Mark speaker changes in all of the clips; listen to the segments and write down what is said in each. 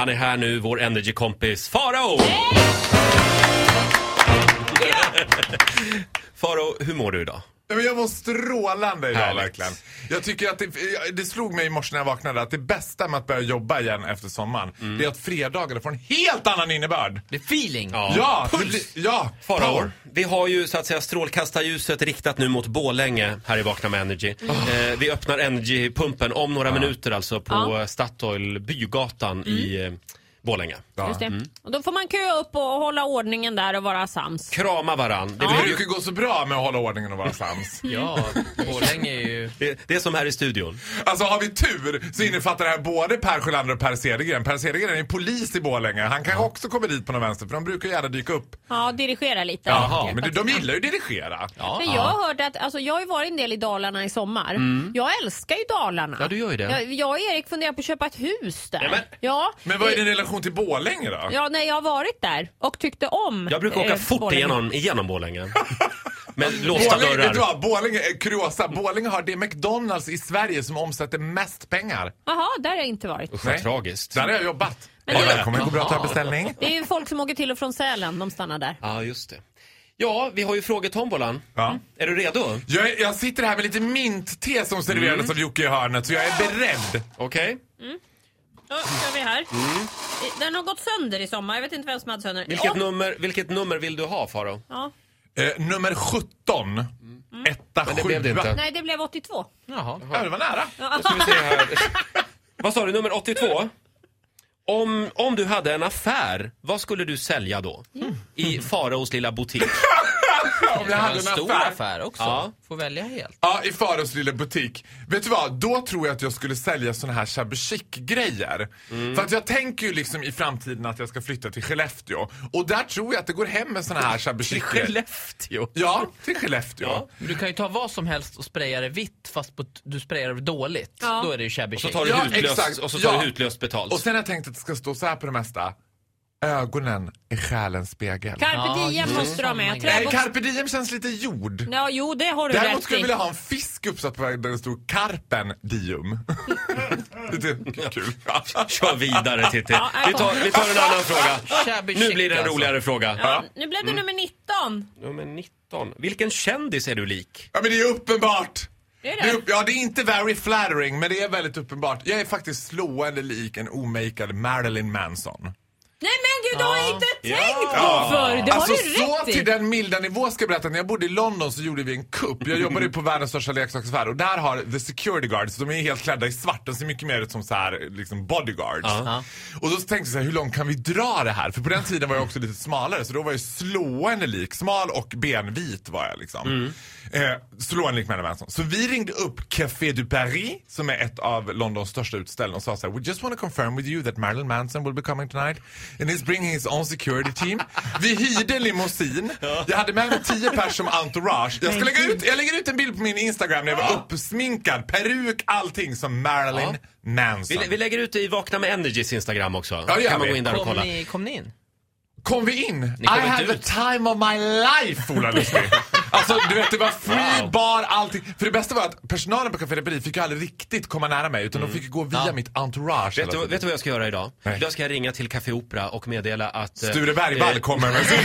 Speaker 1: Han är här nu, vår Energy-kompis Farao! Farao, hur mår du idag?
Speaker 2: Nej, men jag var strålande idag
Speaker 1: Härligt.
Speaker 2: verkligen. Jag tycker att det, det slog mig i morse när jag vaknade att det bästa med att börja jobba igen efter sommaren, det är att fredagar får en helt annan innebörd.
Speaker 3: Det är feeling.
Speaker 2: Ja, det blir- ja,
Speaker 1: Farao,
Speaker 2: power.
Speaker 1: vi har ju så att säga strålkastarljuset riktat nu mot Borlänge här i Vakna med Energy. Eh, vi öppnar Energy-pumpen om några minuter alltså på
Speaker 4: Ja.
Speaker 1: eh, Statoil, Bygatan i eh, Borlänge.
Speaker 4: Just det. Och då får man köa upp och hålla ordningen där och vara sams.
Speaker 1: Krama varann. Det,
Speaker 2: Det
Speaker 1: blir ju,
Speaker 2: brukar gå så bra med att hålla ordningen och vara sams.
Speaker 3: Ja, Borlänge är ju...
Speaker 1: det, det är som här i studion.
Speaker 2: Alltså har vi tur så innefattar det här både Per Sjölander och Per Cedergren. Per Cedergren är ju polis i Borlänge. Han kanske också kommer dit på någon vänster för de brukar gärna dyka upp.
Speaker 4: Ja, dirigera lite.
Speaker 2: Jaha, men du, de gillar ju att dirigera.
Speaker 3: Ja,
Speaker 4: Men jag har hört att, alltså jag har ju varit en del i Dalarna i sommar. Jag älskar ju Dalarna.
Speaker 3: Ja, du gör ju det.
Speaker 4: Jag, jag och Erik funderar på att köpa ett hus där.
Speaker 1: Ja, men-
Speaker 4: ja,
Speaker 2: Men vad är
Speaker 4: det-
Speaker 2: din relation till Borlänge då?
Speaker 4: Ja, nej, jag har varit där och tyckte om
Speaker 1: Jag brukar åka
Speaker 4: eh,
Speaker 1: fort
Speaker 4: Borlänge.
Speaker 1: igenom, igenom Borlänge. Med låsta
Speaker 2: Borlänge, vet du
Speaker 1: dörrar.
Speaker 2: vad? Borlänge, eh, kuriosa, Borlänge har det McDonalds i Sverige som omsätter mest pengar.
Speaker 4: Jaha, där har jag inte varit.
Speaker 1: Usch vad tragiskt.
Speaker 2: Där har jag jobbat.
Speaker 4: Men
Speaker 2: Bara,
Speaker 4: det-
Speaker 2: Välkommen, går bra att ta beställning.
Speaker 4: Det är ju folk som åker till och från Sälen, de stannar där.
Speaker 1: Ja, just det. Ja, vi har ju frågetombolan.
Speaker 4: Mm.
Speaker 2: Ja.
Speaker 1: Är du redo?
Speaker 2: Jag, jag sitter här med lite mintte som serverades
Speaker 1: Mm.
Speaker 2: av Jocke i hörnet, så jag är beredd.
Speaker 1: Okej.
Speaker 4: Då kör vi här. Den har gått sönder i sommar, jag vet inte vem som hade sönder den.
Speaker 1: Vilket,
Speaker 4: Och-
Speaker 1: nummer, vilket nummer vill du ha, Faro?
Speaker 4: ja.
Speaker 2: Eh, nummer 17.
Speaker 4: Mm.
Speaker 2: Etta,
Speaker 1: Men det blev det
Speaker 2: sjua.
Speaker 1: inte.
Speaker 4: Nej, det blev 82.
Speaker 3: Jaha.
Speaker 2: Ja, det var nära.
Speaker 1: Då ska vi se här. vad sa du, nummer 82? Om, om du hade en affär, vad skulle du sälja då? I Faraos lilla butik.
Speaker 2: Om jag
Speaker 3: Det var
Speaker 2: hade
Speaker 3: en
Speaker 2: en
Speaker 3: stor
Speaker 2: affär.
Speaker 3: affär, också.
Speaker 1: Ja.
Speaker 3: Får välja helt.
Speaker 2: Ja, i Faros lilla butik. Vet du vad? Då tror jag att jag skulle sälja såna här shabby chic-grejer.
Speaker 1: Mm.
Speaker 2: För att jag tänker ju liksom i framtiden att jag ska flytta till Skellefteå. Och där tror jag att det går hem med såna här shabby chic-grejer.
Speaker 1: Skellefteå.
Speaker 2: Ja, till Skellefteå.
Speaker 1: Ja.
Speaker 3: Men du kan ju ta vad som helst och spraya det vitt fast på t- du sprayar det dåligt.
Speaker 4: Ja.
Speaker 3: Då är det ju shabby
Speaker 1: Och så
Speaker 3: chic.
Speaker 1: tar du
Speaker 2: Ja,
Speaker 1: hutlöst,
Speaker 2: exakt.
Speaker 1: och så tar
Speaker 2: Ja.
Speaker 1: du hutlöst betalt.
Speaker 2: Och sen har jag tänkt att det ska stå så här på det mesta. Ögonen är själens spegel.
Speaker 4: Carpe
Speaker 3: Ja,
Speaker 4: diem
Speaker 3: just det.
Speaker 4: måste du ha med.
Speaker 3: Nej,
Speaker 2: Nej,
Speaker 4: Träbox...
Speaker 2: carpe diem känns lite jord.
Speaker 4: Ja, jo, det har du
Speaker 2: Däremot
Speaker 4: rätt
Speaker 2: skulle jag
Speaker 4: i.
Speaker 2: vilja ha en fisk uppsatt på vägen där det stod karpen diem. lite kul.
Speaker 1: Kör vidare Titti. Vi tar, vi tar en annan fråga.
Speaker 3: Shabby
Speaker 1: Nu
Speaker 3: chic,
Speaker 1: blir det en
Speaker 3: alltså.
Speaker 1: roligare fråga.
Speaker 4: Ja, nu blev det
Speaker 2: Mm.
Speaker 4: nummer 19.
Speaker 1: Nummer 19. Vilken kändis är du lik?
Speaker 2: Ja men det är uppenbart.
Speaker 4: Är det?
Speaker 2: upp- ja, det är inte very flattering, men det är väldigt uppenbart. Jag är faktiskt slående lik en omakead Marilyn Manson.
Speaker 4: Nej men gud, det har jag inte
Speaker 1: Ja.
Speaker 4: tänkt på förr! Det
Speaker 2: alltså
Speaker 4: har du
Speaker 2: så
Speaker 4: rätt i.
Speaker 2: till den milda nivå ska jag berätta. När jag bodde i London så gjorde vi en kupp. Jag jobbade ju på världens största leksaksaffär och där har the security guards, de är helt klädda i svart. De ser mycket mer ut som så här, liksom bodyguards.
Speaker 1: Ja.
Speaker 2: Och då tänkte jag så här, hur långt kan vi dra det här? För på den tiden var jag också lite smalare så då var jag slående lik. Smal och benvit var jag liksom.
Speaker 1: Mm.
Speaker 2: Eh, slående lik Marilyn Manson. Så vi ringde upp Café du Paris som är ett av Londons största utställningar och sa så här, we just want to confirm with you that Marilyn Manson will be coming tonight and he's bringing his own security team. Vi hyrde limousin. Jag hade med mig tio pers som entourage. Jag, ska lägga ut, jag lägger ut en bild på min Instagram när jag var uppsminkad, peruk, allting som Marilyn Manson.
Speaker 1: Vi, vi lägger ut det i Vakna med Energys Instagram också.
Speaker 2: Ja, det gör
Speaker 1: kan man
Speaker 2: vi.
Speaker 1: gå in där och
Speaker 3: Kom
Speaker 1: kolla.
Speaker 3: ni, kom ni in?
Speaker 2: Kom vi in? I
Speaker 1: kom inte
Speaker 2: had the
Speaker 1: ut.
Speaker 2: time of my life, Ola Lustig. Alltså, du vet, det var free
Speaker 1: Wow.
Speaker 2: bar, allting. För det bästa var att personalen på Café de Paris fick ju aldrig riktigt komma nära mig, utan de fick ju gå via
Speaker 3: Ja.
Speaker 2: mitt entourage.
Speaker 1: Mm. Vet du,
Speaker 2: hela
Speaker 1: vet
Speaker 2: tiden.
Speaker 1: du vad jag ska göra idag?
Speaker 2: Nej.
Speaker 1: Idag ska jag ringa till Café Opera och meddela att... eh,
Speaker 2: Sture Bergvall
Speaker 1: eh,
Speaker 2: kommer med sin...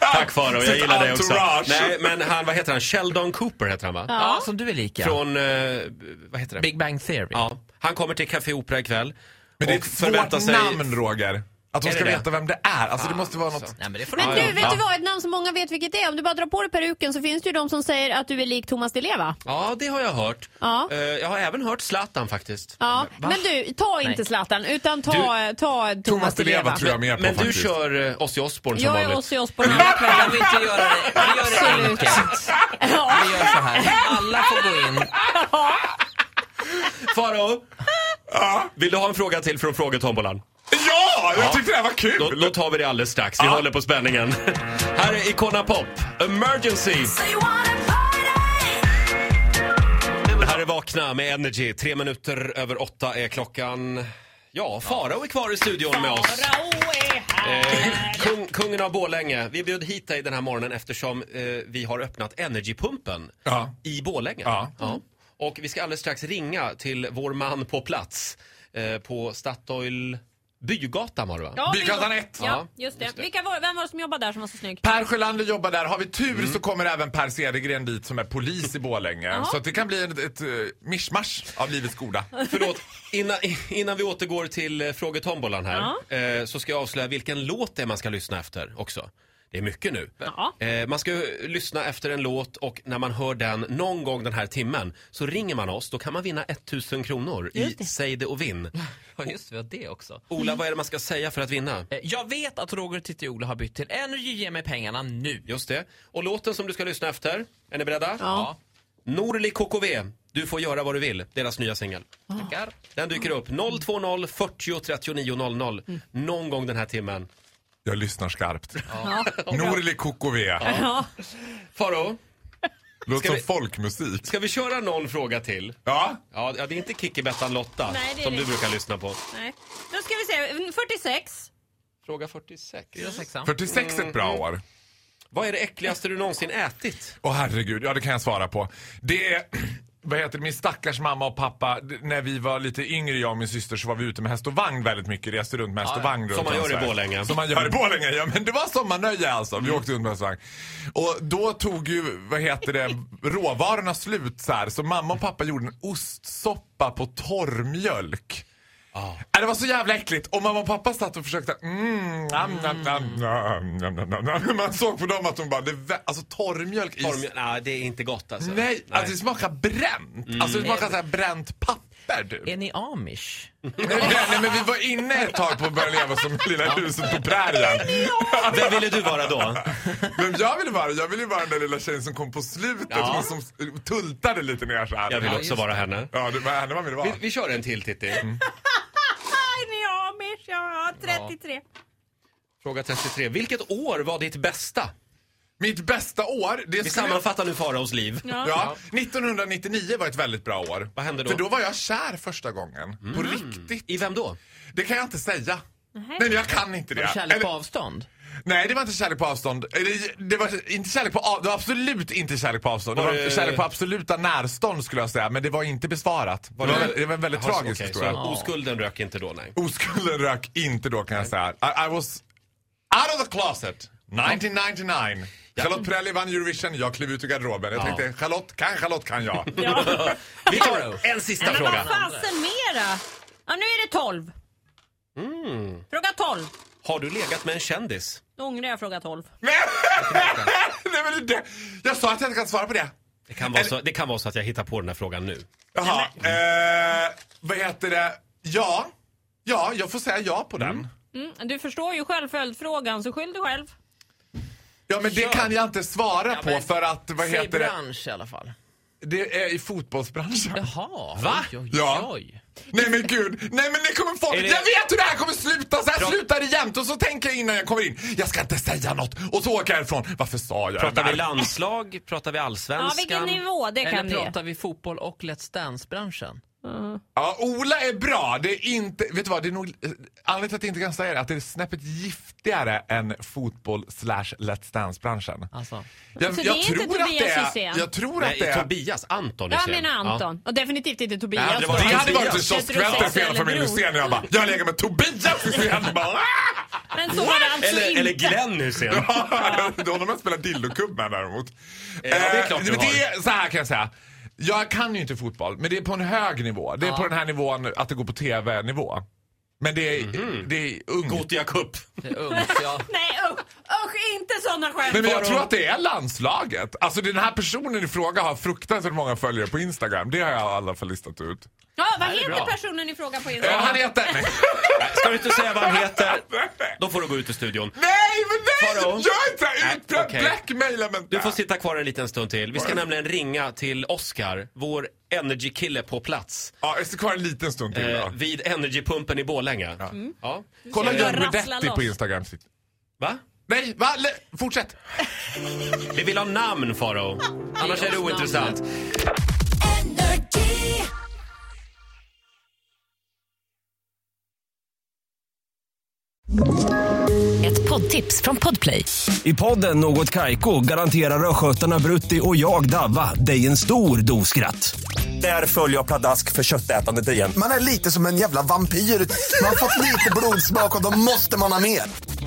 Speaker 1: Tack Farao, jag
Speaker 2: sitt
Speaker 1: gillar dig också.
Speaker 2: entourage.
Speaker 1: Nej, men han, vad heter han? Sheldon Cooper heter han va?
Speaker 3: Ja, som du är lika.
Speaker 1: Från, eh, vad heter det?
Speaker 3: Big Bang Theory.
Speaker 1: Ja. Han kommer till Café Opera ikväll.
Speaker 2: Men det är
Speaker 1: och
Speaker 2: ett
Speaker 1: förväntar
Speaker 2: svårt
Speaker 1: sig...
Speaker 2: namn, Roger. Att de
Speaker 1: Är det
Speaker 2: ska
Speaker 1: det?
Speaker 2: veta vem det är. Alltså, det måste vara något...
Speaker 3: Nej, men det får
Speaker 4: Men
Speaker 3: du
Speaker 4: du,
Speaker 3: göra.
Speaker 4: vet du vad? Ett namn som många vet vilket det är. Om du bara drar på dig peruken så finns det ju de som säger att du är lik Thomas Di Leva.
Speaker 1: Ja, det har jag hört.
Speaker 4: Ja.
Speaker 1: Eh, jag har även hört Zlatan faktiskt.
Speaker 4: Ja. Men du, ta inte Zlatan utan ta, ta Thomas,
Speaker 2: Thomas Di Leva tror jag mer på
Speaker 1: Men du
Speaker 2: faktiskt.
Speaker 1: kör eh, Ozzy Osbourne som
Speaker 4: Jag är
Speaker 1: vanligt.
Speaker 4: Ozzy Osbourne alla
Speaker 3: Kan
Speaker 4: kvällar.
Speaker 3: vi inte göra det? Vi gör det
Speaker 4: Absolut.
Speaker 3: enkelt.
Speaker 4: Ja.
Speaker 3: Vi gör så här. Alla får gå in.
Speaker 1: Farao, vill du ha en fråga till från frågetombolan?
Speaker 2: Ja! Jag tyckte det här var kul!
Speaker 1: Då, då tar vi det alldeles strax. Vi håller på spänningen. Här är Icona Pop, Emergency. Här är Vakna med Energy. Tre minuter över åtta är klockan. Ja, Farao är kvar i studion med oss.
Speaker 4: Farao är här.
Speaker 1: Eh, Kung, kungen av Borlänge. Vi bjöd hit dig den här morgonen eftersom eh, vi har öppnat Energypumpen
Speaker 2: Ja.
Speaker 1: i Borlänge.
Speaker 2: Ja.
Speaker 1: Och vi ska alldeles strax ringa till vår man på plats eh, på Statoil Bygatan var det va?
Speaker 4: Ja,
Speaker 2: Bygatan
Speaker 4: vi-
Speaker 2: ett.
Speaker 4: Ja, just det.
Speaker 1: just det.
Speaker 4: Vilka var, vem var det som jobbade där som var så snygg?
Speaker 2: Per Sjölander jobbar där. Har vi tur
Speaker 1: Mm.
Speaker 2: så kommer även Per Cedergren dit som är polis i Borlänge.
Speaker 4: Jaha.
Speaker 2: Så att det kan bli ett, ett eh, mischmasch av livets goda.
Speaker 1: Förlåt, innan, innan vi återgår till eh, frågetombolan här eh, så ska jag avslöja vilken låt det är man ska lyssna efter också. Det är mycket nu.
Speaker 4: Ja.
Speaker 1: Eh, man ska ju lyssna efter en låt och när man hör den någon gång den här timmen så ringer man oss. Då kan man vinna 1000 kronor i
Speaker 4: Just det.
Speaker 1: Säg det och vinn.
Speaker 3: Ja, just det, vi har det också.
Speaker 1: Ola, vad är det man ska säga för att vinna?
Speaker 3: Eh, Jag vet att Roger och Titti Ola har bytt till Energy, ge mig pengarna nu.
Speaker 1: Just det. Och låten som du ska lyssna efter, är ni beredda?
Speaker 3: Ja,
Speaker 1: Norli KKV, Du får göra vad du vill, deras nya singel.
Speaker 3: tackar.
Speaker 1: Den dyker upp 020 40 39 00
Speaker 4: Mm.
Speaker 1: någon gång den här timmen.
Speaker 2: Jag lyssnar skarpt.
Speaker 4: Ja.
Speaker 2: Norli KKV.
Speaker 4: Ja.
Speaker 1: Faro,
Speaker 2: Låter
Speaker 1: Ska
Speaker 2: som
Speaker 1: vi-
Speaker 2: folkmusik.
Speaker 1: ska vi köra någon fråga till?
Speaker 2: Ja.
Speaker 1: Ja, ja, det är inte Kikki-Bettan Lotta
Speaker 4: Nej, det är
Speaker 1: som du
Speaker 4: det.
Speaker 1: brukar lyssna på.
Speaker 4: Nej. Då ska vi se. 46.
Speaker 1: Fråga 46.
Speaker 3: Fyra sexan.
Speaker 2: 46 är ett
Speaker 1: Mm,
Speaker 2: bra år.
Speaker 1: Vad är det äckligaste du någonsin ätit?
Speaker 2: Åh herregud, ja det kan jag svara på. Det är, vad heter det, min stackars mamma och pappa, d- när vi var lite yngre jag och min syster så var vi ute med häst och vagn väldigt mycket, reste runt med häst
Speaker 3: Ja,
Speaker 2: och vagn runt
Speaker 1: som man
Speaker 2: om
Speaker 1: gör i
Speaker 2: Sverige.
Speaker 1: Borlänge. Mm.
Speaker 2: Som man gör i Borlänge, ja men det var sommarnöje alltså. Vi åkte runt med häst och vagn. Och då tog ju, vad heter det, råvarorna slut så här. Så mamma och pappa gjorde en ostsoppa på torrmjölk. Nej, Äh, Det var så jävla äckligt. Och mamma och pappa satt och försökte... Mm, nam, nam, nam, nam, nam, nam, nam, nam. Man såg på dem att de bara... Det, vä- alltså torrmjölk i
Speaker 1: Torm... Nej, det är inte gott alltså.
Speaker 2: Nej, alltså det smakar bränt.
Speaker 1: Mm.
Speaker 2: Alltså det smakar så här bränt papper typ.
Speaker 3: Är ni amish?
Speaker 2: nej, nej men vi var inne ett tag på att börja leva som lilla huset på prärien.
Speaker 1: Vem ville du vara då?
Speaker 2: Men jag ville vara, jag ville ju vara den där lilla tjejen som kom på slutet
Speaker 1: Ja.
Speaker 2: och som s- tultade lite ner så här.
Speaker 1: Jag vill
Speaker 3: Ja,
Speaker 1: också
Speaker 3: just
Speaker 1: vara henne.
Speaker 2: Ja, det var henne man ville vara.
Speaker 1: Vi, vi kör en till Titti.
Speaker 4: Aj, ni är amish. Ja, ja, 33.
Speaker 1: Fråga 33. Vilket år var ditt bästa?
Speaker 2: Mitt bästa år, det
Speaker 1: Vi
Speaker 2: skulle jag...
Speaker 1: sammanfattar nu Faraos liv.
Speaker 4: Ja.
Speaker 2: Ja, 1999 var ett väldigt bra år.
Speaker 1: Vad hände då? Mm.
Speaker 2: För då var jag kär första gången. På riktigt.
Speaker 1: I vem då?
Speaker 2: Det kan jag inte säga. Nej, men jag kan inte det.
Speaker 3: Kärlek
Speaker 2: Eller-
Speaker 3: på avstånd?
Speaker 2: Nej, det var inte kärlek på avstånd. Eller, Det var, inte kärlek på, av- det var absolut inte kärlek på avstånd. Det
Speaker 1: Var
Speaker 2: var
Speaker 1: det-
Speaker 2: kärlek på absoluta närstånd skulle jag säga, men det var inte besvarat. det,
Speaker 1: det-
Speaker 2: var, väl- det var en väldigt
Speaker 1: Jaha,
Speaker 2: tragisk
Speaker 1: okej,
Speaker 2: historia.
Speaker 1: Så oskulden rök inte då, nej.
Speaker 2: Oskulden rök inte då kan jag säga. I, I was out of the closet 1999. Charlotte Perrelli vann Eurovision, jag klev ut ur garderoben. Jag tänkte Charlotte kan, Charlotte kan jag.
Speaker 1: Vi tar en sista
Speaker 4: Men vad
Speaker 1: fråga.
Speaker 4: fasen mera? Ja, nu är det 12. Fråga 12.
Speaker 1: Har du legat med en kändis?
Speaker 4: Då ångrar jag fråga 12.
Speaker 2: Men, nej, men det, jag sa att jag inte kan svara på det.
Speaker 1: Det kan, vara så, det kan vara så att jag hittar på den här frågan nu.
Speaker 2: Jaha. Eh, vad heter det? Ja. Ja, jag får säga ja på den.
Speaker 4: Mm, du förstår ju själv följdfrågan, så skyll dig själv.
Speaker 2: Ja, men det kan jag inte svara på
Speaker 3: men
Speaker 2: för att, vad
Speaker 3: Säg
Speaker 2: heter det?
Speaker 3: bransch i alla fall.
Speaker 2: Det är i fotbollsbranschen.
Speaker 3: Jaha,
Speaker 1: Va?
Speaker 3: oj, oj,
Speaker 2: Ja.
Speaker 3: oj.
Speaker 2: Nej men gud, nej men nu kommer folk,
Speaker 1: Är det-
Speaker 2: jag vet hur det här kommer sluta! Så här
Speaker 1: Pra-
Speaker 2: slutar det jämt och så tänker jag innan jag kommer in, jag ska inte säga något och så åker jag ifrån. Varför sa jag det
Speaker 1: Pratar vi
Speaker 2: där?
Speaker 1: landslag? Pratar vi
Speaker 4: Ja,
Speaker 1: allsvenskan?
Speaker 4: vilken nivå det kan
Speaker 3: Eller
Speaker 4: bli.
Speaker 3: pratar vi fotboll och Let's Dance-branschen?
Speaker 2: Ja, Ola är bra, det är inte, vet du vad, det är nog, eh, anledningen till att jag inte kan säga det är att det är snäppet giftigare än fotboll slash Let's Dance-branschen.
Speaker 3: Alltså.
Speaker 2: Jag,
Speaker 4: Så det är
Speaker 2: jag,
Speaker 4: inte
Speaker 2: tror att det
Speaker 4: Tobias
Speaker 2: är,
Speaker 4: Hysén?
Speaker 2: jag tror att
Speaker 1: Nej,
Speaker 2: det är...
Speaker 1: Tobias. Anton
Speaker 4: Jag
Speaker 1: Hysén.
Speaker 4: menar Anton. Och definitivt inte Tobias.
Speaker 1: Ja, det
Speaker 2: Det,
Speaker 1: var-
Speaker 2: hade
Speaker 1: Tobias.
Speaker 2: varit en kioskvältare för hela familjen Hysén när jag bara, jag lägger med Tobias Hysén! Bara, "Ah!"
Speaker 4: Men så var det alltså
Speaker 1: Eller,
Speaker 4: inte.
Speaker 1: eller Glenn Hysén.
Speaker 2: Då håller man spelar dildokubb med däremot.
Speaker 1: Eh, Ja, det är klart
Speaker 2: Eh,
Speaker 1: du
Speaker 2: men
Speaker 1: har.
Speaker 2: det är, så här kan jag säga. Jag kan ju inte fotboll, men det är på en hög nivå. Det är på den här nivån att det går på tv-nivå. Men det är,
Speaker 1: Mhm.
Speaker 2: det är ungt.
Speaker 1: Gothia Cup.
Speaker 3: Det är ungt, ja.
Speaker 4: Nej usch, usch inte sådana skämt.
Speaker 2: Nej, men jag tror att det är landslaget. Alltså den här personen i fråga har fruktansvärt många följare på Instagram. Det har jag i alla fall listat ut.
Speaker 4: Ja, vad
Speaker 3: är
Speaker 4: heter
Speaker 3: bra.
Speaker 4: personen i fråga på
Speaker 2: Eh,
Speaker 4: Instagram?
Speaker 2: han heter... Nej,
Speaker 1: Ska du inte säga vad han heter? Då får du gå ut ur studion.
Speaker 2: nej, men nej!
Speaker 1: Faro?
Speaker 2: Gör inte det här! Utbredd
Speaker 1: okej.
Speaker 2: blackmaila mig inte.
Speaker 1: Du får sitta kvar en liten stund till. Vi ska nämligen ringa till Oscar, vår energikille på plats.
Speaker 2: Ja, jag ska kvar en liten stund till.
Speaker 1: Eh,
Speaker 2: då.
Speaker 1: vid Energypumpen i Borlänge. Mm. Ja.
Speaker 2: Kolla
Speaker 4: ska jag
Speaker 2: John
Speaker 4: rassla
Speaker 2: Guidetti
Speaker 4: loss.
Speaker 2: på Instagram.
Speaker 1: Va?
Speaker 2: Nej, va? Le- Fortsätt.
Speaker 1: Vi vill ha namn, Faro. Annars är det ointressant.
Speaker 5: Ett poddtips från Podplay.
Speaker 6: I podden Något Kaiko garanterar östgötarna Brutti och jag, Davva, dig en stor dos skratt. Där följer jag pladask för köttätandet igen.
Speaker 7: Man är lite som en jävla vampyr. Man har fått lite blodsmak och då måste man ha mer.